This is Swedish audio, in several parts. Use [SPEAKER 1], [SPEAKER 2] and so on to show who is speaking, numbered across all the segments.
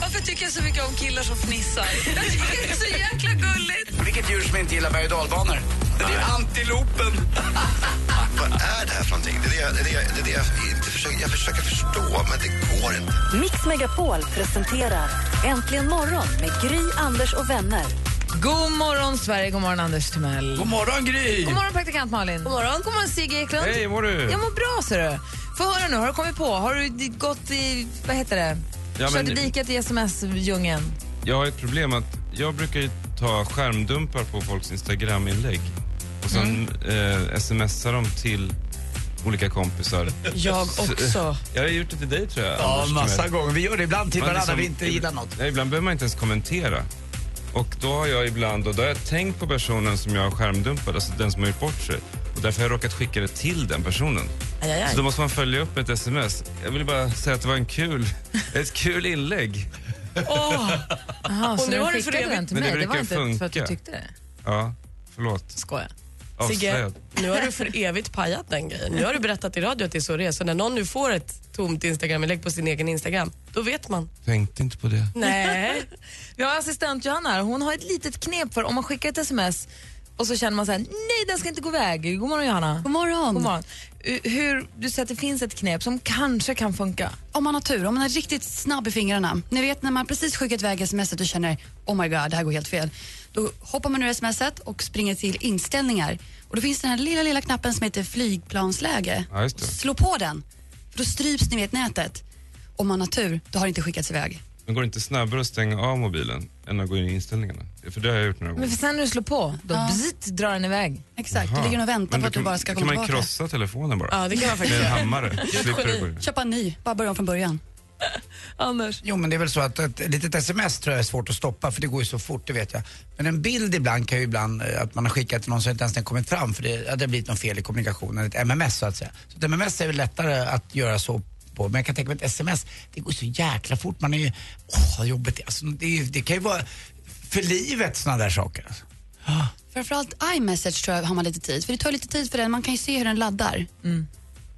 [SPEAKER 1] Varför tycker jag så mycket om killar som fnissar? Jag tycker det är så jäkla gulligt.
[SPEAKER 2] Vilket djur som inte gillar berg och dalbanor? Det är antilopen.
[SPEAKER 3] Vad är det här för någonting? Det är det, det, är det, det jag, inte försöker, jag försöker förstå, men det går inte.
[SPEAKER 4] Mix Megapol presenterar Äntligen morgon med Gry, Anders och vänner.
[SPEAKER 1] God morgon, Sverige. God morgon, Anders Timell.
[SPEAKER 2] God morgon, Gry!
[SPEAKER 1] God morgon, praktikant Malin. God morgon, God morgon Sigge Eklund. Hej, mår du? Jag mår bra, ser du. Få höra nu, har du kommit på? Har du d- gått i, vad heter det?
[SPEAKER 5] Ja, men-
[SPEAKER 1] Kört diket i sms-djungeln?
[SPEAKER 5] Jag har ett problem att jag brukar ju ta skärmdumpar på folks Instagram-inlägg och sen
[SPEAKER 1] Mm.
[SPEAKER 5] eh, smsar dem till olika kompisar.
[SPEAKER 1] Jag också.
[SPEAKER 5] Jag har gjort det till dig tror jag.
[SPEAKER 2] Ja,
[SPEAKER 5] Anders
[SPEAKER 2] massa
[SPEAKER 5] Timell.
[SPEAKER 2] gånger. Vi gör det ibland till
[SPEAKER 5] Man
[SPEAKER 2] varandra
[SPEAKER 5] liksom-
[SPEAKER 2] vi inte gillar något.
[SPEAKER 5] Nej, ibland behöver man inte ens kommentera. Och då har jag ibland, och då har jag tänkt på personen som jag har skärmdumpat, alltså den som har gjort bort sig. Och därför har jag råkat skicka det till den personen.
[SPEAKER 1] Aj, aj,
[SPEAKER 5] Så
[SPEAKER 1] aj.
[SPEAKER 5] då måste man följa upp ett sms. Jag vill bara säga att det var en kul, ett kul inlägg.
[SPEAKER 1] Aha, så
[SPEAKER 6] nu
[SPEAKER 1] du
[SPEAKER 6] har du
[SPEAKER 1] skickade
[SPEAKER 6] för evigt-
[SPEAKER 1] den till
[SPEAKER 5] Men det
[SPEAKER 1] mig? Det, var
[SPEAKER 5] brukar
[SPEAKER 1] inte för att du
[SPEAKER 5] funka.
[SPEAKER 1] tyckte det?
[SPEAKER 5] Ja, förlåt.
[SPEAKER 1] Skoja.
[SPEAKER 6] Sigge,
[SPEAKER 5] Avslöjad.
[SPEAKER 6] nu har du för evigt pajat den grejen. Nu har du berättat i radio att det är så det är. Så när någon nu får ett tomt Instagram-inlägg på sin egen Instagram, då vet man.
[SPEAKER 5] Tänkte inte på det.
[SPEAKER 1] Nej. Vi har assistent Johanna här. Hon har ett litet knep för om man skickar ett sms och så känner man så här, nej den ska inte gå iväg. God morgon Johanna.
[SPEAKER 7] God morgon.
[SPEAKER 1] God morgon. Uh, Hur, du säger att det finns ett knep som kanske kan funka.
[SPEAKER 7] Om man har tur, om man är riktigt snabb i fingrarna. Ni vet när man precis skickat iväg smset och känner oh my god, det här går helt fel. Då hoppar man ur smset och springer till inställningar. Och då finns den här lilla, lilla knappen som heter flygplansläge.
[SPEAKER 5] Ja, just det.
[SPEAKER 7] Slå på den, för då stryps ni vet nätet. Om man har tur, då har det inte skickats iväg.
[SPEAKER 5] Men går det inte snabbare att stänga av mobilen än att gå in i inställningarna? För det har jag gjort några
[SPEAKER 1] Men
[SPEAKER 5] gånger.
[SPEAKER 1] för sen när du slår på, då
[SPEAKER 7] Ja.
[SPEAKER 1] bzzt, drar den iväg.
[SPEAKER 7] Exakt,
[SPEAKER 5] Aha.
[SPEAKER 7] du ligger och väntar
[SPEAKER 5] Men
[SPEAKER 7] på
[SPEAKER 5] då
[SPEAKER 7] att du
[SPEAKER 5] kan-
[SPEAKER 7] bara ska
[SPEAKER 5] då
[SPEAKER 7] komma
[SPEAKER 5] kan man
[SPEAKER 7] tillbaka.
[SPEAKER 5] krossa telefonen bara.
[SPEAKER 6] Ja, det kan man
[SPEAKER 5] Med
[SPEAKER 6] faktiskt
[SPEAKER 5] en
[SPEAKER 6] göra.
[SPEAKER 5] hammare. Slipper du gå in.
[SPEAKER 7] Köpa en ny, bara börja om från början.
[SPEAKER 1] Anders.
[SPEAKER 2] Jo, men det är väl så att ett litet sms tror jag är svårt att stoppa för det går ju så fort, det vet jag. Men en bild ibland kan ju ibland, eh, att man har skickat till någon som inte ens har kommit fram för det, ja, det har blivit något fel i kommunikationen, ett MMS så att säga. Så ett MMS är väl lättare att göra så på. Men jag kan tänka mig ett sms, det går ju så jäkla fort. Man är ju, åh vad jobbigt det är. alltså, det, är ju- det kan ju vara för livet sådana där saker. alltså.
[SPEAKER 7] Framförallt iMessage tror jag har man lite tid, för det tar lite tid för den, man kan ju se hur den laddar.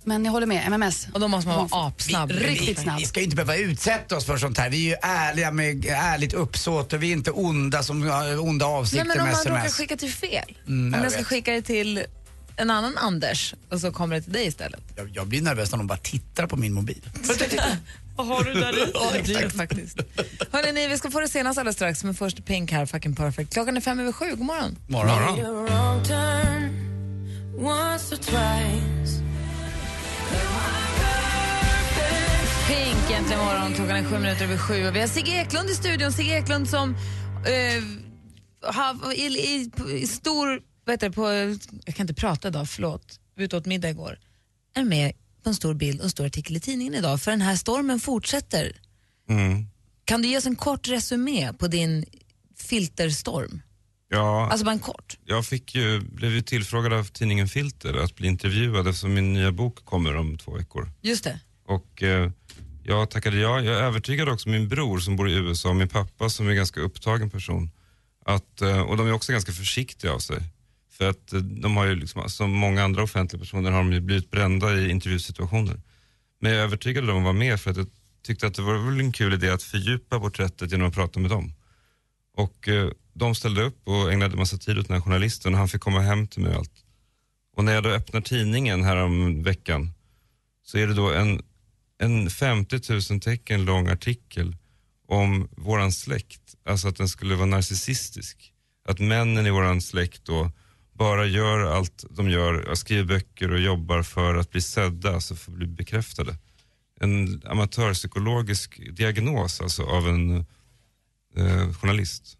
[SPEAKER 7] Men jag håller med, MMS.
[SPEAKER 1] Och då måste man vara apsnabb.
[SPEAKER 7] Riktigt snabb.
[SPEAKER 2] Vi ska ju inte behöva utsätta oss för sånt här. Vi är ju ärliga med ärligt uppsåt och vi är inte onda som har onda
[SPEAKER 1] Nej,
[SPEAKER 2] avsikter
[SPEAKER 1] men om
[SPEAKER 2] med
[SPEAKER 1] man råkar
[SPEAKER 2] sms.
[SPEAKER 1] skicka till fel.
[SPEAKER 2] Mm,
[SPEAKER 1] om
[SPEAKER 2] jag
[SPEAKER 1] jag ska
[SPEAKER 2] vet.
[SPEAKER 1] skicka det till en annan Anders och så kommer det till dig istället.
[SPEAKER 2] Jag, jag blir nervös när de bara tittar på min mobil.
[SPEAKER 6] Vad har du där i?
[SPEAKER 1] Ja, det faktiskt. Hörrni, ni, vi ska få det senast alldeles strax, men först Pink här, fucking perfect. Klockan är fem över sju, god morgon.
[SPEAKER 2] Morgon.
[SPEAKER 1] Pink äntligen morgon, klockan är sju minuter över sju. Och vi har Sigge Eklund i studion, Sigge Eklund som eh, har, i, i, i stor, vad heter det, på, jag kan inte prata idag, förlåt, ute åt middag igår, är med på en stor bild och en stor artikel i tidningen idag, för den här stormen fortsätter.
[SPEAKER 5] Mm.
[SPEAKER 1] Kan du ge oss en kort resumé på din filterstorm?
[SPEAKER 5] Ja,
[SPEAKER 1] Alltså bara en kort.
[SPEAKER 5] jag fick ju, blev ju tillfrågad av tidningen Filter att bli intervjuad eftersom min nya bok kommer om två veckor.
[SPEAKER 1] Just det.
[SPEAKER 5] Och eh, jag tackade ja. Jag övertygade också min bror som bor i USA och min pappa som är en ganska upptagen person. Att, eh, och de är också ganska försiktiga av sig. För att eh, de har ju liksom, som många andra offentliga personer har de ju blivit brända i intervjusituationer. Men jag övertygade dem att vara med för att jag tyckte att det var väl en kul idé att fördjupa porträttet genom att prata med dem. Och eh, de ställde upp och ägnade massa tid åt den här journalisten och han fick komma hem till mig och allt. Och när jag då öppnar tidningen här om veckan så är det då en, en 50 000 tecken lång artikel om våran släkt, alltså att den skulle vara narcissistisk. Att männen i våran släkt då bara gör allt de gör, skriver böcker och jobbar för att bli sedda, alltså för att bli bekräftade. En amatörpsykologisk diagnos alltså av en eh, journalist.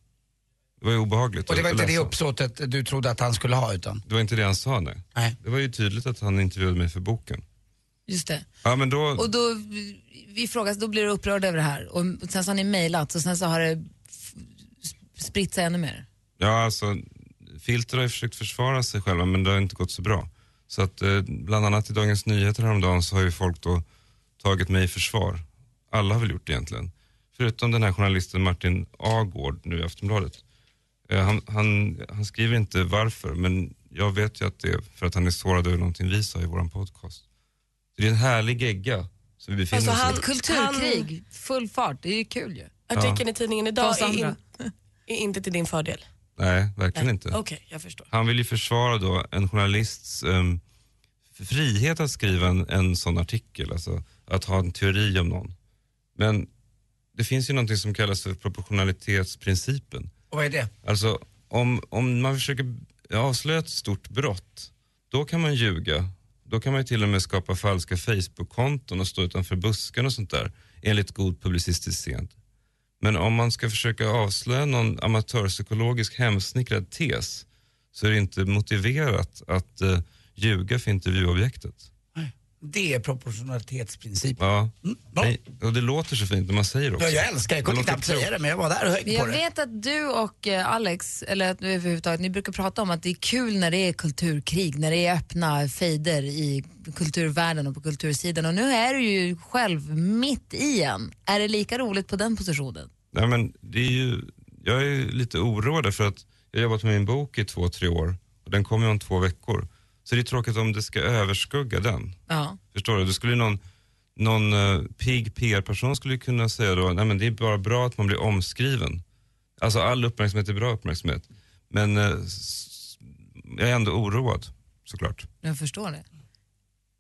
[SPEAKER 5] Det var ju obehagligt
[SPEAKER 2] Och det var
[SPEAKER 5] att
[SPEAKER 2] inte det
[SPEAKER 5] läsa.
[SPEAKER 2] uppsåtet du trodde att han skulle ha utan?
[SPEAKER 5] Det var inte det han sa, nej.
[SPEAKER 2] Nej.
[SPEAKER 5] Det var ju tydligt att han intervjuade mig för boken.
[SPEAKER 1] Just det.
[SPEAKER 5] Ja, men då...
[SPEAKER 2] Mm.
[SPEAKER 1] Och då, vi- vi frågas, då blir du upprörd över det här. Och sen så har ni mejlat och sen så har det f- spritt sig ännu mer.
[SPEAKER 5] Ja, alltså Filter har ju försökt försvara sig själva men det har inte gått så bra. Så att eh, bland annat i Dagens Nyheter häromdagen så har ju folk då tagit mig i försvar. Alla har väl gjort det egentligen. Förutom den här journalisten Martin Agård nu i Aftonbladet. Eh, han, han, han skriver inte varför men jag vet ju att det är för att han är sårad över någonting vi sa i vår podcast. Så det är en härlig gegga som vi befinner
[SPEAKER 6] Alltså,
[SPEAKER 5] oss i.
[SPEAKER 6] han-
[SPEAKER 1] Ett kulturkrig, full fart, det är ju kul ju.
[SPEAKER 6] Artikeln i tidningen
[SPEAKER 1] Ta
[SPEAKER 6] idag
[SPEAKER 1] oss
[SPEAKER 6] är, in,
[SPEAKER 1] andra.
[SPEAKER 6] är inte till din fördel.
[SPEAKER 5] Nej, verkligen inte.
[SPEAKER 6] Okej, jag förstår.
[SPEAKER 5] Han vill ju försvara då en journalists ehm, frihet att skriva en, en sån artikel, alltså att ha en teori om någon. Men det finns ju någonting som kallas för proportionalitetsprincipen.
[SPEAKER 2] Och vad är det?
[SPEAKER 5] Alltså om, om man försöker avslöja ett stort brott, då kan man ljuga. Då kan man ju till och med skapa falska Facebook-konton och stå utanför busken och sånt där, enligt god publicistisk sed. Men om man ska försöka avslöja någon amatörpsykologisk hemsnickrad tes så är det inte motiverat att eh, ljuga för intervjuobjektet.
[SPEAKER 2] Det är proportionalitetsprincipen.
[SPEAKER 5] Ja.
[SPEAKER 2] bra.
[SPEAKER 5] Nej, och det låter så fint när man säger det också.
[SPEAKER 2] Mm, Ja, jag älskar det. Jag kunde
[SPEAKER 5] låter
[SPEAKER 2] knappt säga det, men jag var där och
[SPEAKER 1] Men
[SPEAKER 2] högg på
[SPEAKER 1] Jag
[SPEAKER 2] det.
[SPEAKER 1] vet att du och eh, Alex, eller att du överhuvudtaget, ni brukar prata om att det är kul när det är kulturkrig, när det är öppna fejder i kulturvärlden och på kultursidan. Och nu är du ju själv mitt i en. Är det lika roligt på den positionen?
[SPEAKER 5] Nej, men det är ju, jag är ju lite oroad för att jag har jobbat med min bok i två, tre år och den kommer ju om två veckor. Så det är tråkigt om det ska överskugga den.
[SPEAKER 1] Ja.
[SPEAKER 5] Förstår du? Då skulle ju någon, någon eh, pigg PR-person skulle ju kunna säga då, nej men det är bara bra att man blir omskriven. Alltså all uppmärksamhet är bra uppmärksamhet. Men eh, s- jag är ändå oroad såklart.
[SPEAKER 1] Jag förstår det.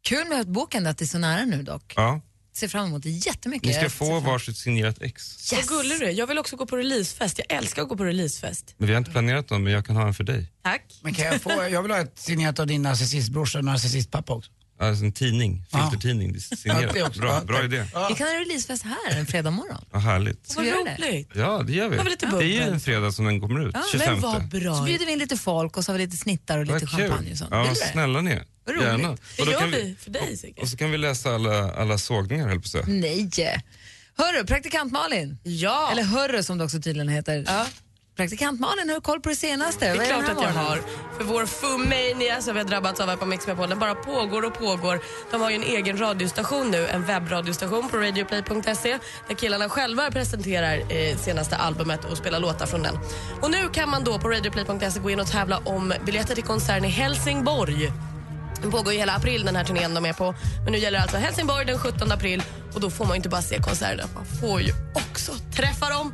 [SPEAKER 1] Kul med att boken att det är så nära nu dock.
[SPEAKER 5] Ja,
[SPEAKER 1] Ser fram emot det jättemycket.
[SPEAKER 5] ni ska
[SPEAKER 1] Jag ser
[SPEAKER 5] få
[SPEAKER 1] fram-
[SPEAKER 5] varsitt signerat ex.
[SPEAKER 6] Vad gullig du är. Jag vill också gå på releasefest. Jag älskar att gå på releasefest.
[SPEAKER 5] Men vi har inte planerat någon, men jag kan ha en för dig.
[SPEAKER 6] Tack.
[SPEAKER 2] Men kan jag få, jag vill ha ett signerat av din narcissistbrorsa och narcissistpappa också.
[SPEAKER 5] Alltså en tidning,
[SPEAKER 2] Ja.
[SPEAKER 5] filtertidning, det är signerat.
[SPEAKER 2] Ja, det också.
[SPEAKER 5] Bra,
[SPEAKER 2] Ja,
[SPEAKER 5] bra
[SPEAKER 2] tack.
[SPEAKER 5] idé.
[SPEAKER 1] Vi kan ha releasefest här en fredag morgon.
[SPEAKER 5] Vad härligt.
[SPEAKER 1] Ska
[SPEAKER 6] Vad
[SPEAKER 1] vi göra det?
[SPEAKER 6] roligt.
[SPEAKER 5] Ja, det gör vi.
[SPEAKER 6] Har vi lite
[SPEAKER 5] det är ju
[SPEAKER 6] bubbel?
[SPEAKER 5] en fredag som den kommer ut, 25.
[SPEAKER 6] Men vad bra.
[SPEAKER 1] Så bjuder vi in lite folk och så har vi lite snittar och
[SPEAKER 5] Vad
[SPEAKER 1] lite champagne och sånt.
[SPEAKER 5] Ja,
[SPEAKER 1] Vill du det?
[SPEAKER 5] snälla ni.
[SPEAKER 1] Vad roligt.
[SPEAKER 5] Gärna.
[SPEAKER 6] Det
[SPEAKER 5] Och då
[SPEAKER 6] gör
[SPEAKER 5] kan
[SPEAKER 6] vi för dig säkert. Mm.
[SPEAKER 5] Och så kan vi läsa alla, alla sågningar, höll på att säga.
[SPEAKER 1] Nej. Hörru, praktikant Malin.
[SPEAKER 6] Ja.
[SPEAKER 1] Eller Hörru som det också tydligen heter.
[SPEAKER 6] Ja.
[SPEAKER 1] Praktikant Malin, har du koll på det senaste?
[SPEAKER 6] Det
[SPEAKER 1] Vad
[SPEAKER 6] är
[SPEAKER 1] den
[SPEAKER 6] klart
[SPEAKER 1] här
[SPEAKER 6] att jag
[SPEAKER 1] morgonen?
[SPEAKER 6] har. För vår Fumania som vi har drabbats av här på Mix Megapol, den bara pågår och pågår. De har ju en egen radiostation nu, en webbradiostation på radioplay.se där killarna själva presenterar eh, senaste albumet och spelar låtar från den. Och nu kan man då på radioplay.se gå in och tävla om biljetter till konserten i Helsingborg. Den pågår ju hela april den här turnén de är på. Men nu gäller det alltså Helsingborg den 17 april. Och då får man ju inte bara se konserterna, man får ju också träffa dem.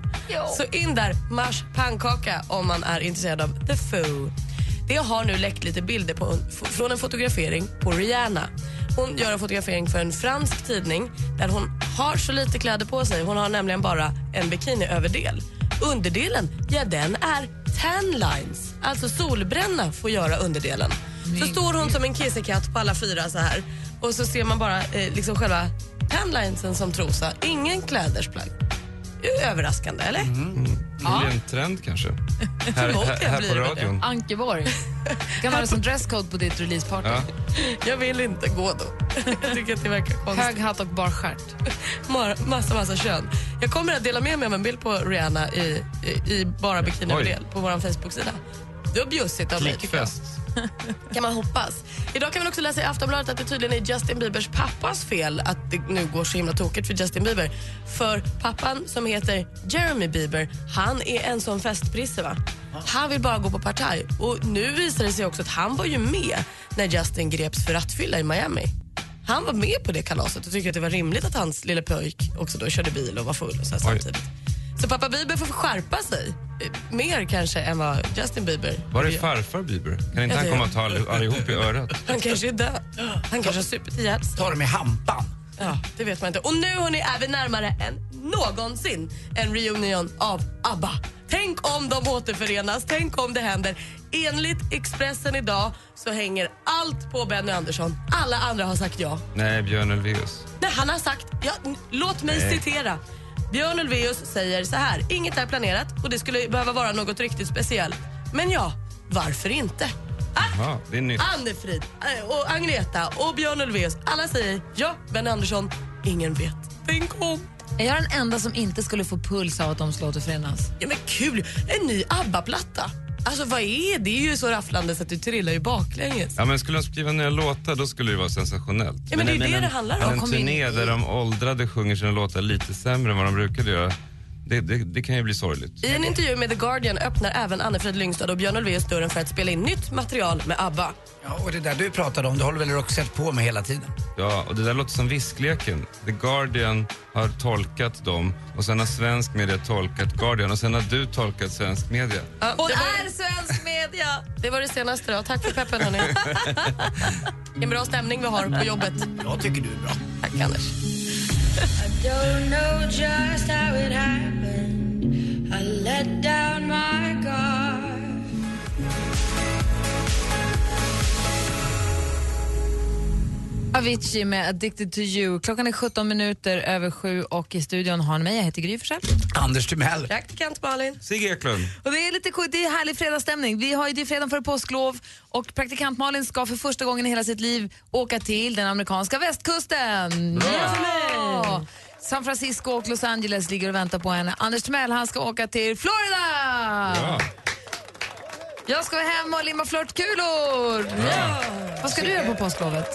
[SPEAKER 6] Så in där, mars pannkaka om man är intresserad av The Foo. Det har nu läckt lite bilder på, från en fotografering på Rihanna. Hon gör en fotografering för en fransk tidning där hon har så lite kläder på sig. Hon har nämligen bara en bikiniöverdel. Underdelen, ja den är tan lines. Alltså solbränna får göra underdelen. Så står hon som en kissekatt på alla fyra så här och så ser man bara eh, liksom själva tanlinesen som trosa. Ingen klädesplagg. Överraskande, eller?
[SPEAKER 5] Det blir en trend kanske. Här,
[SPEAKER 6] Förmodligen
[SPEAKER 5] här, här
[SPEAKER 6] blir
[SPEAKER 5] på
[SPEAKER 6] det
[SPEAKER 5] radion.
[SPEAKER 1] Ankeborg. Kan vara som dresscode på ditt releaseparty.
[SPEAKER 5] Ja.
[SPEAKER 6] Jag vill inte gå då. Jag tycker att det verkar konstigt.
[SPEAKER 1] Hög hatt och barstjärt.
[SPEAKER 6] Mar- massa, massa kön. Jag kommer att dela med mig av en bild på Rihanna i, i, i bara bikiniöverdel på vår Facebook-sida. Det var bjussigt av mig, tycker jag.
[SPEAKER 5] Klickfest.
[SPEAKER 6] Kan man hoppas. Idag kan man också läsa i Aftonbladet att det tydligen är Justin Biebers pappas fel att det nu går så himla tokigt för Justin Bieber. För pappan som heter Jeremy Bieber, han är en sån festprisse va? Han vill bara gå på partaj. Och nu visar det sig också att han var ju med när Justin greps för rattfylla i Miami. Han var med på det kalaset och tyckte att det var rimligt att hans lille pojk också då körde bil och var full och så här samtidigt. Så pappa Bieber får skärpa sig. eh, Mer kanske än vad Justin Bieber
[SPEAKER 5] Var är farfar Bieber? Kan
[SPEAKER 6] Ja,
[SPEAKER 5] inte han
[SPEAKER 6] det-
[SPEAKER 5] komma och ta all- allihop i örat?
[SPEAKER 6] han kanske är död. Han kanske har supit ihjäl sig.
[SPEAKER 2] Ta dem i hampan.
[SPEAKER 6] Ja, det vet man inte. Och nu hörni, är vi närmare än någonsin en reunion av ABBA. Tänk om de återförenas, tänk om det händer. Enligt Expressen idag så hänger allt på Benny Andersson. Alla andra har sagt ja.
[SPEAKER 5] Nej, Björn Ulvaeus.
[SPEAKER 6] Nej, han har sagt, ja, n- låt mig citera. Björn Ulvaeus säger så här, inget är planerat och det skulle behöva vara något riktigt speciellt. Men ja, varför inte? Att
[SPEAKER 5] Ja, det är nytt.
[SPEAKER 6] Annefrid, eh, och Agneta och Björn Ulvaeus. Alla säger ja, Ben Andersson. Ingen vet. Tänk om.
[SPEAKER 1] Är jag den enda som inte skulle få puls av att de skulle återförenas?
[SPEAKER 6] Ja, men kul! En ny ABBA-platta. Alltså vad är det? Det är ju så rafflande så att du trillar ju baklänges.
[SPEAKER 5] Ja, men skulle de skriva nya låtar då skulle det ju vara sensationellt.
[SPEAKER 6] Ja, men det är ju
[SPEAKER 5] jag
[SPEAKER 6] det
[SPEAKER 5] menar,
[SPEAKER 6] det handlar om.
[SPEAKER 5] men En
[SPEAKER 6] Kom in
[SPEAKER 5] turné
[SPEAKER 6] i-
[SPEAKER 5] där de åldrade sjunger sina låtar lite sämre än vad de brukade göra, det, det, det kan ju bli sorgligt.
[SPEAKER 6] I en intervju med The Guardian öppnar även Anne-Frid Lyngstad och Björn Ulvaeus dörren för att spela in nytt material med ABBA.
[SPEAKER 2] Ja, och det där du pratade om, det håller väl Roxette på med hela tiden?
[SPEAKER 5] Ja, och det där låter som viskleken. The Guardian har tolkat dem och sen har svensk media tolkat Guardian och sen har du tolkat svensk media.
[SPEAKER 6] Ja,
[SPEAKER 1] Hon
[SPEAKER 6] det,
[SPEAKER 1] är
[SPEAKER 6] var,
[SPEAKER 1] svensk media!
[SPEAKER 6] det var det senaste då. Tack för peppen hörni. Vilken bra stämning vi har på jobbet.
[SPEAKER 2] Jag tycker du är bra.
[SPEAKER 6] Tack Anders.
[SPEAKER 1] Avicii med Addicted to you. Klockan är 17 minuter över sju och i studion har ni mig. Jag heter Gry Forssell.
[SPEAKER 2] Anders Timell.
[SPEAKER 6] Praktikant Malin.
[SPEAKER 5] Sigge Eklund,
[SPEAKER 1] Och det är lite coolt, det är härlig fredagsstämning. Vi har ju det är fredagen före påsklov och praktikant Malin ska för första gången i hela sitt liv åka till den amerikanska västkusten. Ja! San Francisco och Los Angeles ligger och väntar på henne. Anders Timell, han ska åka till Florida!
[SPEAKER 5] ja.
[SPEAKER 1] Jag ska vara hemma och limma flörtkulor! Ja. Vad ska du göra på påsklovet?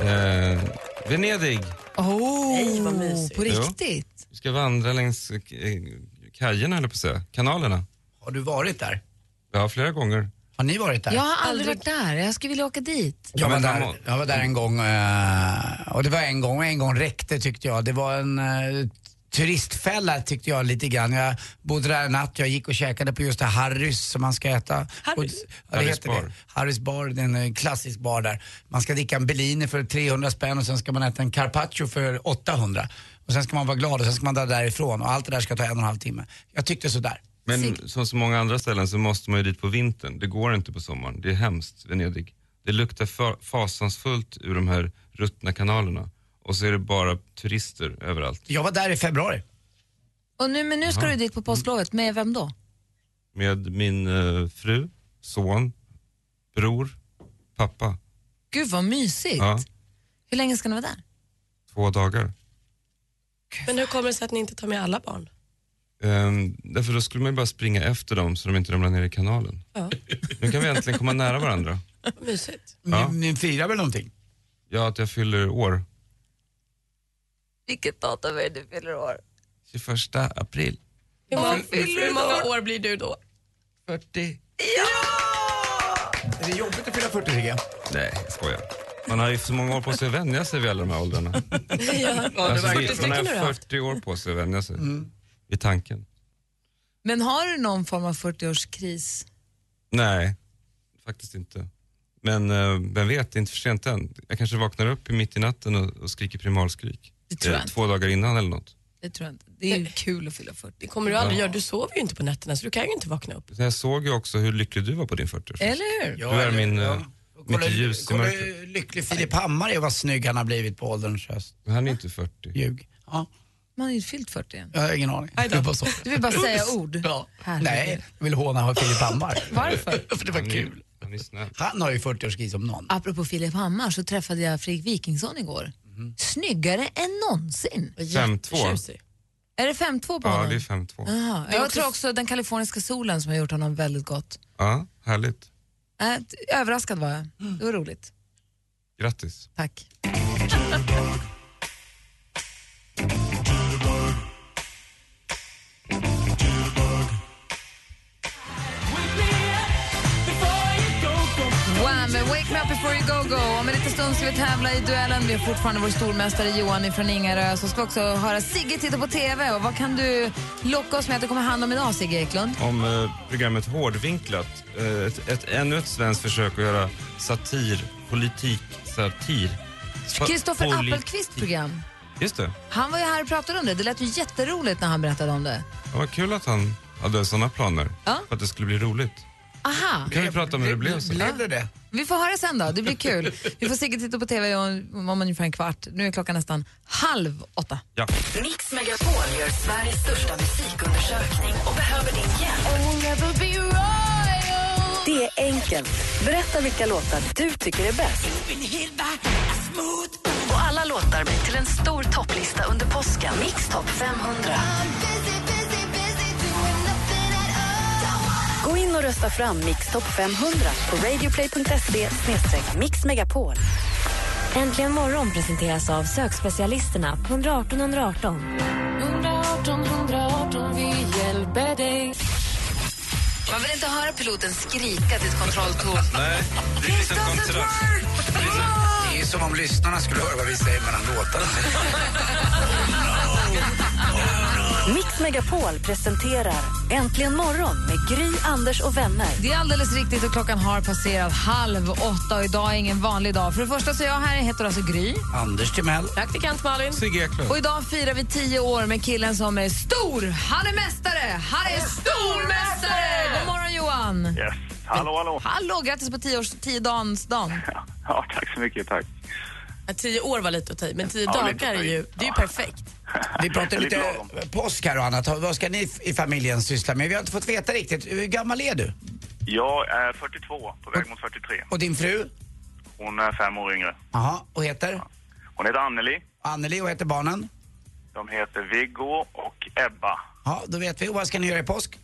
[SPEAKER 5] Eh, Venedig.
[SPEAKER 1] Oh,
[SPEAKER 6] Nej, vad mysigt.
[SPEAKER 1] På
[SPEAKER 5] Ja.
[SPEAKER 1] riktigt?
[SPEAKER 5] Vi ska vandra längs eh, kajerna, eller på att säga, kanalerna.
[SPEAKER 2] Har du varit där?
[SPEAKER 5] Ja, flera gånger.
[SPEAKER 2] Har ni varit där?
[SPEAKER 1] Jag har aldrig varit där, jag skulle vilja åka dit.
[SPEAKER 2] Jag var,
[SPEAKER 5] Men de
[SPEAKER 2] där,
[SPEAKER 5] har-
[SPEAKER 2] jag var där en gång eh, och det var en gång och en gång räckte tyckte jag. Det var en eh, turistfälla tyckte jag lite grann. Jag bodde där en natt, jag gick och käkade på just det Harrys som man ska äta.
[SPEAKER 6] Harrys?
[SPEAKER 2] Och, ja, det
[SPEAKER 5] Harrys
[SPEAKER 2] heter
[SPEAKER 5] bar.
[SPEAKER 2] det. Harrys bar, det är en eh, klassisk bar där. Man ska dricka en Bellini för 300 spänn och sen ska man äta en carpaccio för 800. Och sen ska man vara glad och sen ska man dra därifrån och allt det där ska ta en och en halv timme. Jag tyckte sådär.
[SPEAKER 5] Men som så många andra ställen så måste man ju dit på vintern. Det går inte på sommaren. Det är hemskt, Venedig. Det luktar fa- fasansfullt ur de här ruttna kanalerna. Och så är det bara turister överallt.
[SPEAKER 2] Jag var där i februari.
[SPEAKER 1] Och nu, men nu ska du dit på påsklovet, med vem då?
[SPEAKER 5] Med min eh, fru, son, bror, pappa.
[SPEAKER 1] Gud vad mysigt.
[SPEAKER 5] Ja,
[SPEAKER 1] Hur länge ska ni vara där?
[SPEAKER 5] två dagar.
[SPEAKER 6] Men hur kommer det sig att ni inte tar med alla barn?
[SPEAKER 5] Ehm, därför då skulle man ju bara springa efter dem så de inte ramlar ner i kanalen.
[SPEAKER 6] Ja.
[SPEAKER 5] Nu kan vi äntligen komma nära varandra.
[SPEAKER 6] Vad Mysigt.
[SPEAKER 5] Ja.
[SPEAKER 2] Ni, ni firar väl någonting?
[SPEAKER 5] Ja, att jag fyller år.
[SPEAKER 1] Vilket datum är det du fyller år?
[SPEAKER 5] 21 april.
[SPEAKER 6] Hur många,
[SPEAKER 1] fyller
[SPEAKER 6] hur många år blir du då?
[SPEAKER 2] 40. Är det jobbigt att fylla 40 tycker jag?
[SPEAKER 5] Nej, jag skojar. Man har ju så många år på sig att vänja sig vid alla de här åldrarna.
[SPEAKER 6] Ja,
[SPEAKER 5] Alltså, vi- man
[SPEAKER 6] stycken har du
[SPEAKER 5] har
[SPEAKER 6] haft.
[SPEAKER 5] 40 år på sig att vänja sig vid tanken.
[SPEAKER 1] Men har du någon form av 40-årskris?
[SPEAKER 5] Nej, faktiskt inte. Men eh, vem vet, det är inte för sent än. Jag kanske vaknar upp i mitt i natten och, och skriker primalskrik.
[SPEAKER 1] Det tror jag
[SPEAKER 5] Eh,
[SPEAKER 1] inte.
[SPEAKER 5] Två dagar innan eller något.
[SPEAKER 1] Det tror jag inte. Det är ju kul att fylla 40.
[SPEAKER 6] Det kommer du aldrig göra. Du sover ju inte på nätterna så du kan ju inte vakna upp.
[SPEAKER 5] Jag såg ju också hur lycklig du var på din 40
[SPEAKER 1] Eller hur?
[SPEAKER 5] Du är min, eh, mitt ljus i
[SPEAKER 2] kolla
[SPEAKER 5] mörkret.
[SPEAKER 2] hur lycklig Filip Hammar är och vad snygg han har blivit på ålderns höst.
[SPEAKER 5] Han är inte 40.
[SPEAKER 2] Ljug. Ja,
[SPEAKER 1] Man har ju fyllt 40 än.
[SPEAKER 2] jag har ingen aning. Du bara så.
[SPEAKER 1] Du vill bara säga ord.
[SPEAKER 2] Ja.
[SPEAKER 1] Herregud.
[SPEAKER 2] Nej, jag vill håna Filip Hammar.
[SPEAKER 1] Varför?
[SPEAKER 2] För det var kul.
[SPEAKER 5] Han är snäll.
[SPEAKER 2] Han har ju 40-årskris om någon.
[SPEAKER 1] Apropå Filip Hammar så träffade jag Fredrik Wikingsson igår. Snyggare än någonsin.
[SPEAKER 5] Mhm. Fem, två.
[SPEAKER 6] Jättetjusig.
[SPEAKER 1] Är det 5-2 på
[SPEAKER 5] Ja,
[SPEAKER 1] honom?
[SPEAKER 5] det är 5-2.
[SPEAKER 1] Jaha. Jag tror också den kaliforniska solen som har gjort honom väldigt gott.
[SPEAKER 5] Ja, härligt.
[SPEAKER 1] Äh, t- överraskad var jag. Det var roligt.
[SPEAKER 5] Grattis.
[SPEAKER 1] Tack. Wham! med Wake me up before you go go. Om en liten stund ska vi tävla i duellen. Vi har fortfarande vår stormästare Johan från Ingarö. Så ska vi också höra Sigge titta på TV. Och vad kan du locka oss med att det kommer hand om idag, Sigge Eklund?
[SPEAKER 5] om eh, programmet Hårdvinklat. Eh, ett, ett, ännu ett svenskt försök att göra satir, politik, satir. Fa-
[SPEAKER 1] Kristoffer
[SPEAKER 5] politik.
[SPEAKER 1] Appelqvists program.
[SPEAKER 5] Just det.
[SPEAKER 1] Han var ju här och pratade om det. Det lät ju jätteroligt när han berättade om det.
[SPEAKER 5] det var kul att han hade såna planer.
[SPEAKER 1] Ja.
[SPEAKER 5] För att det skulle bli roligt.
[SPEAKER 1] Aha,
[SPEAKER 5] Kan vi prata om hur det blev sen?
[SPEAKER 2] Blev det det?
[SPEAKER 1] vi får höra sen då. Det blir kul. Vi får säkert titta på TV om, om ungefär en kvart. Nu är klockan nästan halv åtta.
[SPEAKER 5] Ja.
[SPEAKER 4] Mix Megapol gör Sveriges största musikundersökning och behöver din hjälp. Det är enkelt. Berätta vilka låtar du tycker är bäst. Och alla låtar blir till en stor topplista under påsken. Mix topp 500. Gå Gå in och rösta fram Mix Top 500 på radioplay.se mixmegapol.
[SPEAKER 8] Äntligen morgon presenteras av sökspecialisterna på 118 118.
[SPEAKER 9] 118 118, vi hjälper dig.
[SPEAKER 1] Man vill inte höra piloten skrika till ett kontrolltorn.
[SPEAKER 2] Nej, det är lite kontrast. Det är som om lyssnarna skulle höra vad vi säger mellan låtarna.
[SPEAKER 4] Mix Megapol presenterar Äntligen morgon med Gry, Anders och vänner.
[SPEAKER 1] Det är alldeles riktigt och klockan har passerat halv åtta och idag är ingen vanlig dag. För det första så är jag här, jag heter alltså Gry.
[SPEAKER 2] Anders Timell.
[SPEAKER 1] Praktikant Malin.
[SPEAKER 2] Sigge Eklund.
[SPEAKER 1] Och idag firar vi tio år med killen som är stor. Han är mästare! Han är stormästare! God morgon Johan!
[SPEAKER 10] Yes. Hallå, hallå.
[SPEAKER 1] Hallå, grattis på tio års, tiodagarsdagen.
[SPEAKER 10] Ja, tack så mycket. Tack.
[SPEAKER 6] Ja, Tio år var lite att ta i, men tio
[SPEAKER 2] Ja, lite
[SPEAKER 6] dagar
[SPEAKER 2] att
[SPEAKER 6] är
[SPEAKER 2] ta i.
[SPEAKER 6] ju, det är ju perfekt.
[SPEAKER 2] Vi pratar
[SPEAKER 6] Jag är
[SPEAKER 2] lite
[SPEAKER 6] lite lagom.
[SPEAKER 2] påsk här och annat. Vad ska ni i familjen syssla med? Vi har inte fått veta riktigt. Hur gammal är du?
[SPEAKER 10] Jag är 42, på väg mot 43.
[SPEAKER 2] Och din fru?
[SPEAKER 10] Hon är fem år yngre.
[SPEAKER 2] Jaha, och heter?
[SPEAKER 10] Hon heter Anneli.
[SPEAKER 2] Anneli och heter barnen?
[SPEAKER 10] De heter Viggo och Ebba.
[SPEAKER 2] Ja, då vet vi. Och vad ska ni göra i påsk?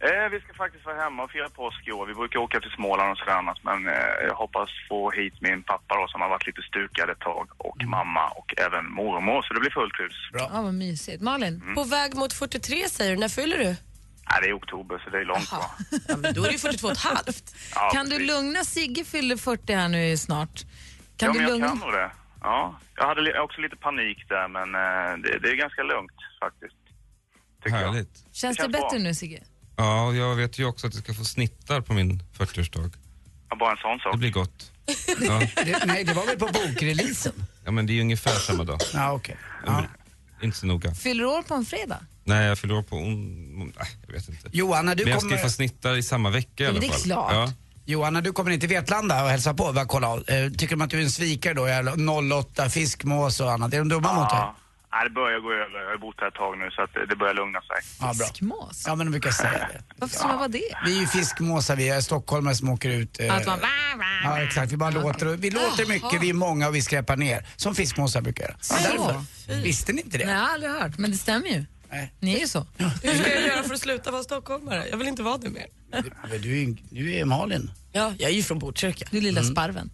[SPEAKER 10] Eh, vi ska faktiskt vara hemma och fira påsk i år. Vi brukar åka till Småland och sådär annars, men eh, jag hoppas få hit min pappa då, som har varit lite stukad ett tag, och mamma och även mormor, så det blir fullt hus.
[SPEAKER 2] Bra.
[SPEAKER 1] Ja, vad mysigt. Malin?
[SPEAKER 6] Mm. På väg mot 43 säger du, när fyller du?
[SPEAKER 10] Nej, det är oktober, så det är långt kvar.
[SPEAKER 6] Ja, men då är det ju 42 och ett halvt.
[SPEAKER 10] Ja,
[SPEAKER 1] Kan du
[SPEAKER 10] precis.
[SPEAKER 1] lugna? Sigge fyller 40 här nu ju snart. Kan
[SPEAKER 10] ja,
[SPEAKER 1] du
[SPEAKER 10] men jag
[SPEAKER 1] lugna?
[SPEAKER 10] kan nog det. Ja, jag hade li- också lite panik där, men eh, det, det är ganska lugnt faktiskt.
[SPEAKER 1] Känns
[SPEAKER 5] Härligt.
[SPEAKER 10] Det
[SPEAKER 1] det,
[SPEAKER 10] känns
[SPEAKER 1] bättre
[SPEAKER 10] bra.
[SPEAKER 1] nu Sigge?
[SPEAKER 5] Ja, och jag vet ju också att jag ska få snittar på min 40-årsdag.
[SPEAKER 10] Ja, bara en sån sak.
[SPEAKER 5] Det blir gott. Ja,
[SPEAKER 2] Det, nej, det var väl på bokreleasen?
[SPEAKER 5] ja men det är ju ungefär samma dag.
[SPEAKER 2] Ja, okej.
[SPEAKER 5] Inte så noga.
[SPEAKER 1] Fyller år på en fredag?
[SPEAKER 5] Nej, jag förlorar på on... Nej, jag vet inte.
[SPEAKER 2] Johan, när du
[SPEAKER 5] men jag ska
[SPEAKER 2] kommer-
[SPEAKER 5] ju få snittar i samma vecka i
[SPEAKER 2] Ja,
[SPEAKER 5] alla
[SPEAKER 2] men
[SPEAKER 5] fall.
[SPEAKER 2] det är klart.
[SPEAKER 5] Ja.
[SPEAKER 2] Johan, när du kommer in till Vetlanda och hälsar på, bara kolla, eh, tycker de att du är en svikare då? Jävla 08, fiskmås och annat. Är de dumma mot dig?
[SPEAKER 10] Ja. Nej, det börjar gå över. Jag har bott här ett tag nu, så att det- det börjar lugna sig.
[SPEAKER 2] Ja, bra.
[SPEAKER 1] Fiskmås?
[SPEAKER 2] Ja, men de brukar säga det.
[SPEAKER 1] Varför skulle man vara det?
[SPEAKER 2] Vi är ju fiskmåsar, vi är stockholmare som åker ut. eh,
[SPEAKER 1] Att man...
[SPEAKER 2] Ja, exakt. Vi bara låter. och- Vi låter
[SPEAKER 1] Jaha.
[SPEAKER 2] mycket, vi är många och vi skräpar ner. Som fiskmåsar brukar göra.
[SPEAKER 1] Så.
[SPEAKER 2] Därför. Visste ni inte
[SPEAKER 1] Nej,
[SPEAKER 2] det?
[SPEAKER 1] jag har aldrig hört, men det stämmer ju. Ni är ju så.
[SPEAKER 6] Hur ska jag göra för att sluta vara stockholmare? Jag vill inte vara det mer.
[SPEAKER 2] Men Du, är ju- du är Malin.
[SPEAKER 6] Ja, jag är ju från Botkyrka. Mm.
[SPEAKER 1] Du lilla sparven.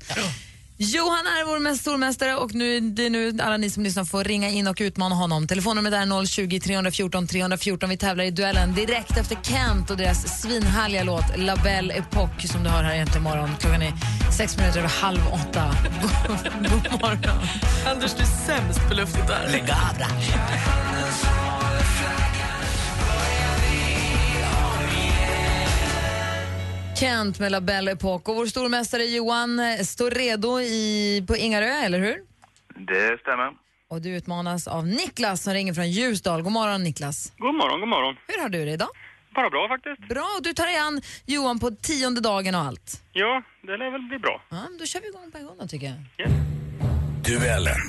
[SPEAKER 1] Johan är vår mest- stormästare och nu, det är nu alla ni som lyssnar får ringa in och utmana honom. Telefonnumret är 020 314 314. Vi tävlar i duellen direkt efter Kent och deras svinhärliga låt La Belle Epoque som du hör här egentligen imorgon. Klockan är sex minuter över halv åtta. God, god morgon.
[SPEAKER 6] Anders, du är sämst på luftgitarr. Lägg av
[SPEAKER 1] Kent med La Belle Epoque och vår stormästare Johan eh, står redo i, på Ingarö, eller hur?
[SPEAKER 10] Det stämmer.
[SPEAKER 1] Och du utmanas av Niklas som ringer från Ljusdal. God morgon Niklas.
[SPEAKER 11] God morgon, god morgon.
[SPEAKER 1] Hur har du det idag?
[SPEAKER 11] Bara bra faktiskt.
[SPEAKER 1] Bra, och du tar dig an Johan på tionde dagen och allt.
[SPEAKER 11] Ja, det lär väl bli bra.
[SPEAKER 1] Ja, men då kör vi igång på en gång då tycker jag.
[SPEAKER 11] Duellen.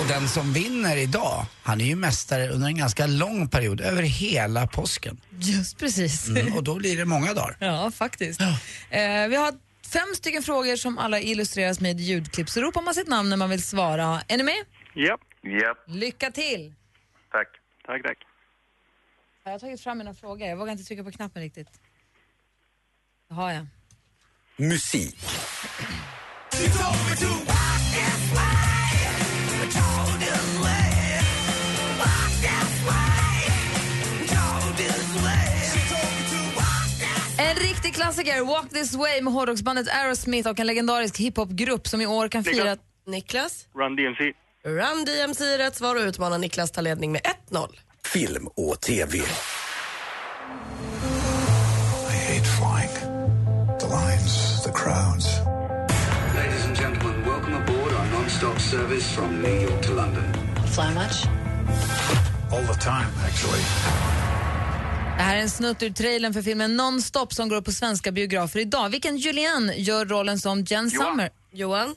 [SPEAKER 2] Och den som vinner idag, han är ju mästare under en ganska lång period, över hela påsken.
[SPEAKER 1] Just precis.
[SPEAKER 2] Mm, och då blir det många dagar.
[SPEAKER 1] Ja, faktiskt. Eh, vi har fem stycken frågor som alla illustreras med ljudklipp. Så ropar man sitt namn när man vill svara. Är ni med?
[SPEAKER 11] Japp.
[SPEAKER 10] Japp.
[SPEAKER 1] Lycka till!
[SPEAKER 10] Tack.
[SPEAKER 11] Tack, tack.
[SPEAKER 1] Jag har tagit fram mina frågor. Jag vågar inte trycka på knappen riktigt. Det har jag.
[SPEAKER 12] Musik.
[SPEAKER 1] En riktig klassiker, Walk This Way med hårdrocksbandet Aerosmith och en legendarisk hiphopgrupp som i år kan fira...
[SPEAKER 6] Niklas?
[SPEAKER 11] Run DMC.
[SPEAKER 6] Run DMC är rätt svar och utmanar Niklas ta ledning med 1-0.
[SPEAKER 12] Film och TV.
[SPEAKER 13] I hate flying. The lines, the crowds.
[SPEAKER 14] Ladies and gentlemen, welcome aboard our non-stop service from New York to London.
[SPEAKER 13] Fly much? All the time, actually.
[SPEAKER 1] Det här är en snutt ur trailern för filmen Nonstop som går upp på svenska biografer idag. Vilken Julianne gör rollen som Jen Summer?
[SPEAKER 6] Johan?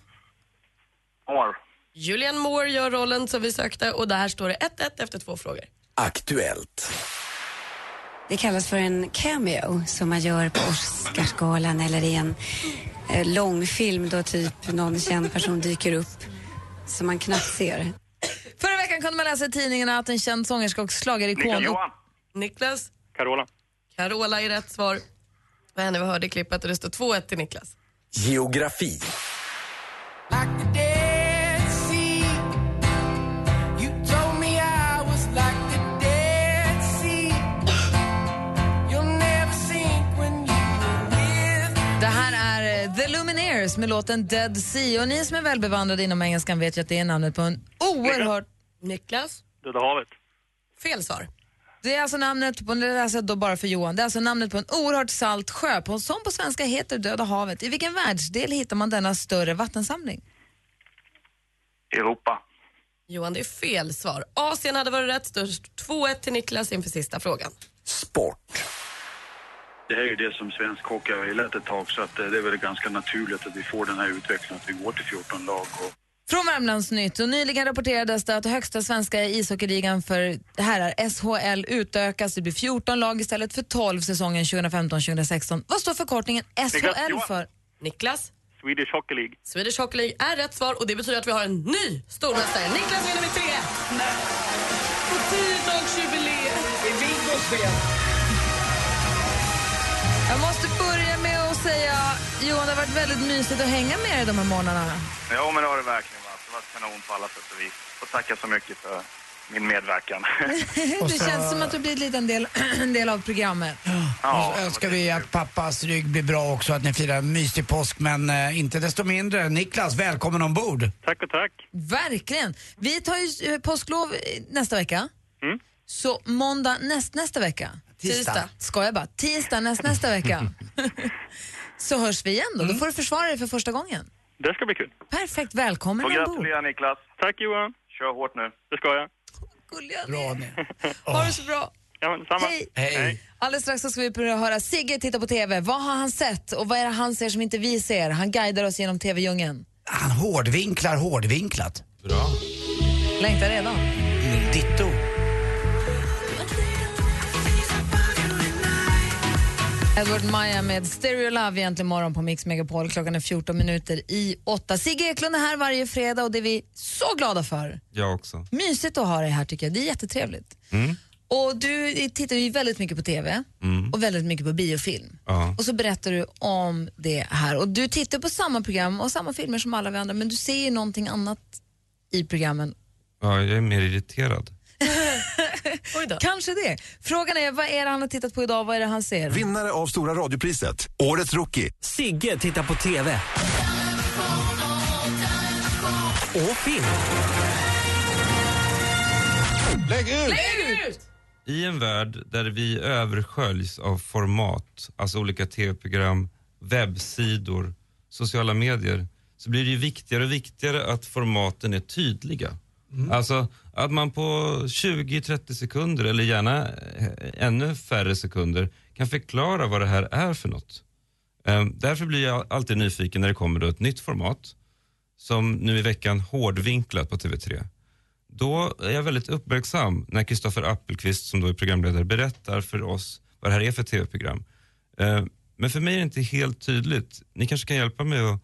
[SPEAKER 10] Moore.
[SPEAKER 6] Julian Moore gör rollen som vi sökte och där står det 1-1 efter två frågor.
[SPEAKER 12] Aktuellt.
[SPEAKER 15] Det kallas för en cameo som man gör på Oscarsgalan eller i en eh, långfilm då typ någon känd person dyker upp som man knappt ser.
[SPEAKER 1] Förra veckan kunde man läsa i tidningarna att en känd sångerska och
[SPEAKER 6] Niklas
[SPEAKER 1] schlagerikon...
[SPEAKER 6] Johan. Niklas.
[SPEAKER 11] Carola.
[SPEAKER 6] Carola är rätt svar. Vad hände? Vi hörde i klippet och det står 2-1 till Niklas.
[SPEAKER 12] Geografi.
[SPEAKER 1] Det här är eh, The Lumineers med låten Dead Sea. Och ni som är välbevandrade inom engelskan vet ju att det är namnet på en oerhört...
[SPEAKER 6] Niklas?
[SPEAKER 11] Döda havet.
[SPEAKER 6] Fel svar.
[SPEAKER 1] Det är alltså namnet på, nu läser jag då bara för Johan, det är alltså namnet på en oerhört salt sjö på, som på svenska heter Döda havet. I vilken världsdel hittar man denna större vattensamling?
[SPEAKER 10] Europa.
[SPEAKER 6] Johan, det är fel svar. Asien hade varit rätt störst. 2-1 till Niklas inför sista frågan.
[SPEAKER 11] Det här är ju det som svensk hockey har gillat ett tag så att eh, det är väl ganska naturligt att vi får den här utvecklingen att vi går till 14 lag. Och...
[SPEAKER 1] Från Värmlandsnytt och nyligen rapporterades det att högsta svenska ishockeyligan för herrar SHL utökas. Det blir 14 lag istället för 12 säsongen 2015-2016. Vad står förkortningen SHL för?
[SPEAKER 6] Niklas?
[SPEAKER 11] Swedish Hockey League.
[SPEAKER 6] Swedish Hockey League är rätt svar och det betyder att vi har en ny stormästare. Niklas vinner med 3-1. På 10-dagsjubileum. Det är Viggos fel.
[SPEAKER 1] Jag måste börja med att säga, Johan, det har varit väldigt mysigt att hänga med er de här morgnarna.
[SPEAKER 10] Ja, men det har det verkligen varit. Det har varit kanon på alla sätt och vis. Och tacka så mycket för min medverkan.
[SPEAKER 1] Det känns som att du blir en liten del, en del av programmet.
[SPEAKER 10] Ja,
[SPEAKER 2] Och så önskar vi att pappas rygg blir bra också, att ni firar en mysig påsk. Men eh, inte desto mindre, Niklas, välkommen ombord.
[SPEAKER 11] Tack och tack.
[SPEAKER 1] Verkligen. Vi tar ju eh, påsklov eh, nästa vecka. Så måndag näst, nästa vecka.
[SPEAKER 2] Tisdag.
[SPEAKER 1] Ska jag bara. Tisdag näst, nästa vecka. så hörs vi igen då. Då får du försvara dig för första gången.
[SPEAKER 11] Det ska bli kul.
[SPEAKER 1] Perfekt. Välkommen
[SPEAKER 10] Och
[SPEAKER 1] ombord.
[SPEAKER 10] gratulera Niklas. Tack Johan. Kör hårt nu. Det ska jag.
[SPEAKER 2] Bra ni.
[SPEAKER 1] Ha det så bra.
[SPEAKER 11] Ja, men detsamma.
[SPEAKER 1] Hej.
[SPEAKER 2] Hej.
[SPEAKER 1] Alldeles strax så ska vi börja höra Sigge titta på TV. Vad har han sett och vad är det han ser som inte vi ser? Han guidar oss genom TV-djungeln.
[SPEAKER 2] Han hårdvinklar hårdvinklat. Bra.
[SPEAKER 1] Längtar redan.
[SPEAKER 2] Ditto.
[SPEAKER 1] Edward Maja med Stereo Love egentligen morgon på Mix Megapol. Klockan är 14 minuter i 8. Sigge Eklund är här varje fredag och det är vi så glada för.
[SPEAKER 5] Jag också.
[SPEAKER 1] Mysigt att ha dig här tycker jag. Det är jättetrevligt.
[SPEAKER 5] Mm.
[SPEAKER 1] Och du tittar ju väldigt mycket på TV
[SPEAKER 5] Mm.
[SPEAKER 1] och väldigt mycket på biofilm.
[SPEAKER 5] Ja.
[SPEAKER 1] Och så berättar du om det här. Och du tittar på samma program och samma filmer som alla vi andra men du ser ju någonting annat i programmen
[SPEAKER 5] ja, jag är mer irriterad.
[SPEAKER 1] Kanske det. Frågan är, vad är det han har tittat på idag? Vad är det han ser?
[SPEAKER 16] Vinnare av Stora radiopriset, Årets rookie. Sigge tittar på TV. Och film.
[SPEAKER 10] Lägg ut!
[SPEAKER 6] Lägg ut!
[SPEAKER 5] I en värld där vi översköljs av format, alltså olika tv-program, webbsidor, sociala medier, så blir det ju viktigare och viktigare att formaten är tydliga. Alltså att man på 20-30 sekunder, eller gärna eh, ännu färre sekunder, kan förklara vad det här är för något. Ehm, Därför blir jag alltid nyfiken när det kommer då ett nytt format, som nu i veckan hårdvinklat på TV3 då är jag väldigt uppmärksam när Kristoffer Appelqvist som då är programledare berättar för oss vad det här är för tv-program. Eh, Men för mig är det inte helt tydligt. Ni kanske kan hjälpa mig att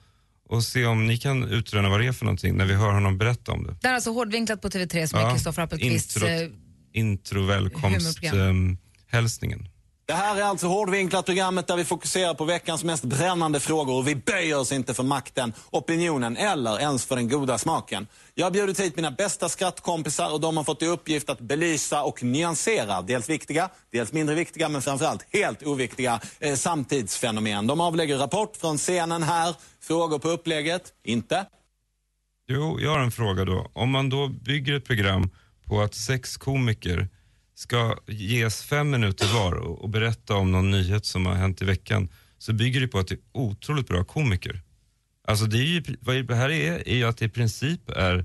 [SPEAKER 5] och se om ni kan utröna vad det är för någonting när vi hör honom berätta om det.
[SPEAKER 1] Det här är alltså hårdvinklat på TV3 som är
[SPEAKER 5] Ja,
[SPEAKER 1] Kristoffer Appelqvists...
[SPEAKER 5] introt- eh,
[SPEAKER 1] eh, humorprogram.
[SPEAKER 5] Intro-välkomst-hälsningen.
[SPEAKER 17] Det här är alltså hårdvinklat programmet där vi fokuserar på veckans mest brännande frågor och vi böjer oss inte för makten, opinionen eller ens för den goda smaken. Jag har bjudit hit mina bästa skrattkompisar och de har fått i uppgift att belysa och nyansera dels viktiga, dels mindre viktiga men framförallt helt oviktiga eh, samtidsfenomen. De avlägger rapport från scenen här, frågor på upplägget, inte.
[SPEAKER 5] Jo, jag har en fråga då. Om man då bygger ett program på att sex komiker ska ges fem minuter var och, och berätta om någon nyhet som har hänt i veckan, så bygger det på att det är otroligt bra komiker. Alltså det, är ju, vad det här är, är ju att det i princip är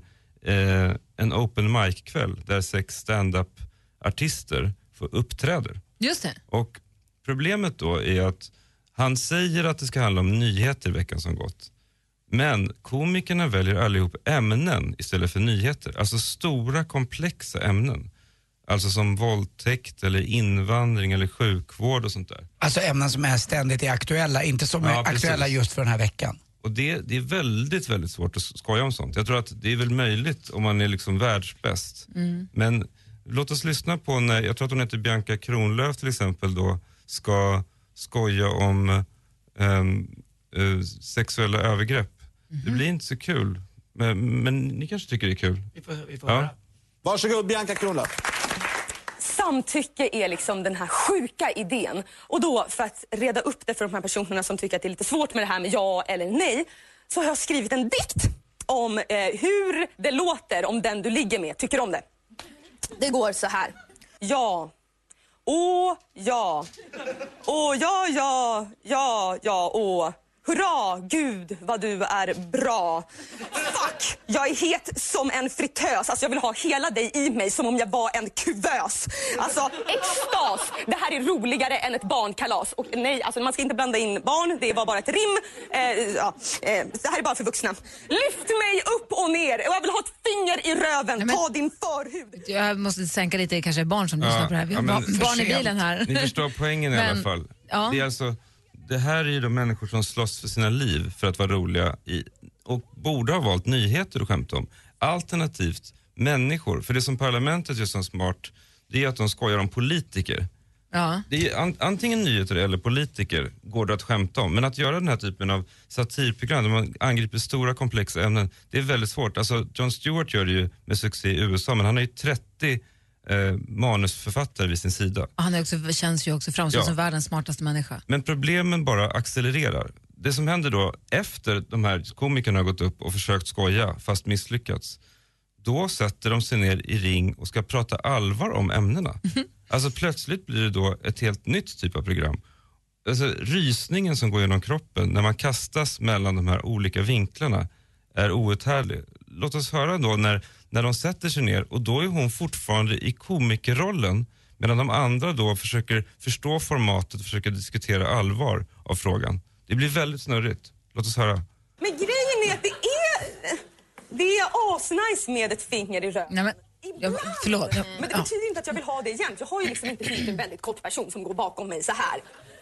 [SPEAKER 5] eh, en open mic-kväll där sex stand-up-artister får uppträder.
[SPEAKER 1] Just det.
[SPEAKER 5] Och problemet då är att han säger att det ska handla om nyheter i veckan som gått. Men komikerna väljer allihop ämnen istället för nyheter. Alltså stora komplexa ämnen. Alltså som våldtäkt eller invandring eller sjukvård och sånt där.
[SPEAKER 2] Alltså ämnen som är ständigt är aktuella, inte som
[SPEAKER 5] Ja,
[SPEAKER 2] är aktuella
[SPEAKER 5] precis.
[SPEAKER 2] just för den här veckan.
[SPEAKER 5] Och det, det är väldigt, väldigt svårt att skoja om sånt. Jag tror att det är väl möjligt om man är liksom världsbäst.
[SPEAKER 18] Mm.
[SPEAKER 5] Men låt oss lyssna på när, jag tror att hon heter Bianca Kronlöf till exempel då, ska skoja om ehm, eh, sexuella övergrepp. Det blir inte så kul. Men, men ni kanske tycker det är kul?
[SPEAKER 2] Vi får, vi får
[SPEAKER 5] Ja.
[SPEAKER 17] Varsågod Bianca Kronlöf.
[SPEAKER 19] Samtycke är liksom den här sjuka idén. Och då, för att reda upp det för de här personerna som tycker att det är lite svårt med det här med ja eller nej, så har jag skrivit en dikt om eh, hur det låter om den du ligger med tycker om det. Det går så här. Ja. Åh, ja. Åh, ja, ja. Ja, ja, åh. Hurra, Gud, vad du är bra. Fuck, jag är het som en fritös. Alltså, jag vill ha hela dig i mig som om jag var en kuvös. Alltså, extas. Det här är roligare än ett barnkalas. Och nej, alltså, man ska inte blanda in barn. Det var bara ett rim. Eh, ja, eh, det här är bara för vuxna. Lyft mig upp och ner. Och jag vill ha ett finger i röven. Ta din förhud.
[SPEAKER 1] Jag måste sänka lite, kanske barn som
[SPEAKER 5] Ja,
[SPEAKER 1] lyssnar på det här. Vi har
[SPEAKER 5] ja, men-
[SPEAKER 1] barn, barn i bilen här.
[SPEAKER 5] Ni förstår poängen i alla
[SPEAKER 1] Men-
[SPEAKER 5] fall.
[SPEAKER 1] ja.
[SPEAKER 5] Det, är alltså, det här är ju de människor som slåss för sina liv för att vara roliga i, och borde ha valt nyheter att skämta om. Alternativt människor. För det som parlamentet gör som smart, det är att de skojar om politiker.
[SPEAKER 1] Ja.
[SPEAKER 5] Det är an, antingen nyheter eller politiker går det att skämta om. Men att göra den här typen av satirprogram där man angriper stora komplexa ämnen, det är väldigt svårt. Alltså, Jon Stewart gör det ju med succé i USA, men han har ju 30 eh, manusförfattare vid sin sida.
[SPEAKER 1] Han är också, känns ju också framstående
[SPEAKER 5] Ja.
[SPEAKER 1] som världens smartaste människa.
[SPEAKER 5] Men problemen bara accelererar. Det som händer då efter de här komikerna har gått upp och försökt skoja fast misslyckats, då sätter de sig ner i ring och ska prata allvar om ämnena. Alltså plötsligt blir det då ett helt nytt typ av program. Alltså, rysningen som går genom kroppen när man kastas mellan de här olika vinklarna är outhärdlig. Låt oss höra då när, när de sätter sig ner och då är hon fortfarande i komikerrollen medan de andra då försöker förstå formatet och försöker diskutera allvar av frågan. Det blir väldigt snurrigt. Låt oss höra.
[SPEAKER 19] Men grejen är att det är... Det är asnice med ett finger i röven.
[SPEAKER 1] Nej, men,
[SPEAKER 19] Ibland.
[SPEAKER 1] förlåt. Ja,
[SPEAKER 19] men det
[SPEAKER 1] ja.
[SPEAKER 19] betyder inte att jag vill ha det jämt. Jag har ju liksom inte blivit en väldigt kort person som går bakom mig så här.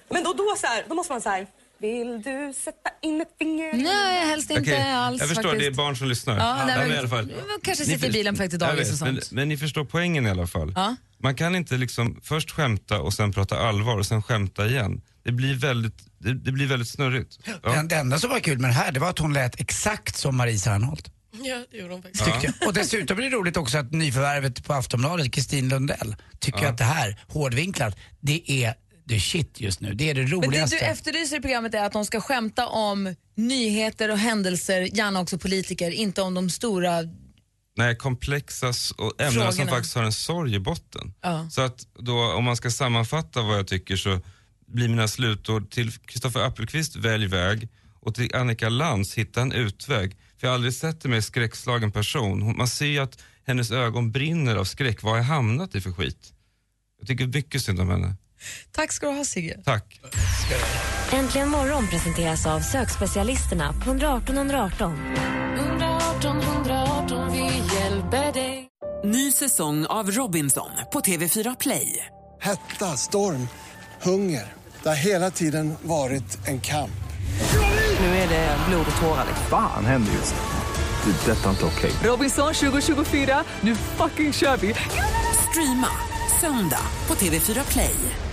[SPEAKER 19] Men då, då, så här, då måste man så här... Vill du sätta in ett finger?
[SPEAKER 1] Nej, helst inte
[SPEAKER 5] Okej,
[SPEAKER 1] alls
[SPEAKER 5] jag förstår, det är
[SPEAKER 1] faktiskt.
[SPEAKER 5] barn som lyssnar.
[SPEAKER 1] Ja, nej, men-
[SPEAKER 5] i alla fall.
[SPEAKER 1] men kanske
[SPEAKER 5] Ni
[SPEAKER 1] sitter i
[SPEAKER 5] för-
[SPEAKER 1] bilen på väg till
[SPEAKER 5] Jag
[SPEAKER 1] dagis
[SPEAKER 5] vet,
[SPEAKER 1] och sånt.
[SPEAKER 5] Men, men ni förstår poängen i alla fall.
[SPEAKER 1] Ja.
[SPEAKER 5] Man kan inte liksom först skämta och sen prata allvar och sen skämta igen. Det blir väldigt, det, det blir väldigt snurrigt. Ja.
[SPEAKER 2] Det enda som var kul med det här, det var att hon lät exakt som Marie Serneholt.
[SPEAKER 6] Ja, det gjorde hon faktiskt.
[SPEAKER 2] Tyckte jag. Och dessutom är det roligt också att nyförvärvet på Aftonbladet, Kristin Lundell, tycker att det här, hårdvinklat, det är the shit just nu. Det är det
[SPEAKER 1] Men det
[SPEAKER 2] roligaste.
[SPEAKER 1] du efterlyser i programmet är att de ska skämta om nyheter och händelser, gärna också politiker, inte om de stora...
[SPEAKER 5] Nej, komplexa s- och ämnen som
[SPEAKER 1] Frågorna.
[SPEAKER 5] faktiskt har en sorg i botten.
[SPEAKER 1] Ja.
[SPEAKER 5] Så att då, om man ska sammanfatta vad jag tycker så blir mina slutord till Kristoffer Appelqvist, välj väg och till Annika Lantz, hitta en utväg. För jag har aldrig sett en mer skräckslagen person. Hon- Man ser ju att hennes ögon brinner av skräck. Vad har jag hamnat i för skit? Jag tycker mycket synd om henne.
[SPEAKER 1] Tack ska du ha Sigge.
[SPEAKER 5] Tack.
[SPEAKER 8] Äntligen morgon presenteras av sökspecialisterna på 118 118.
[SPEAKER 9] 118 118, vi hjälper dig.
[SPEAKER 20] Ny säsong av Robinson på TV4 Play.
[SPEAKER 21] Hetta, storm, hunger. Det har hela tiden varit en kamp.
[SPEAKER 20] Nu är det blod och tårar. liksom.
[SPEAKER 22] Fan händer just nu. Det. är Detta är inte okej.
[SPEAKER 20] Robinson 2024, nu fucking kör vi! Streama söndag på TV4 Play.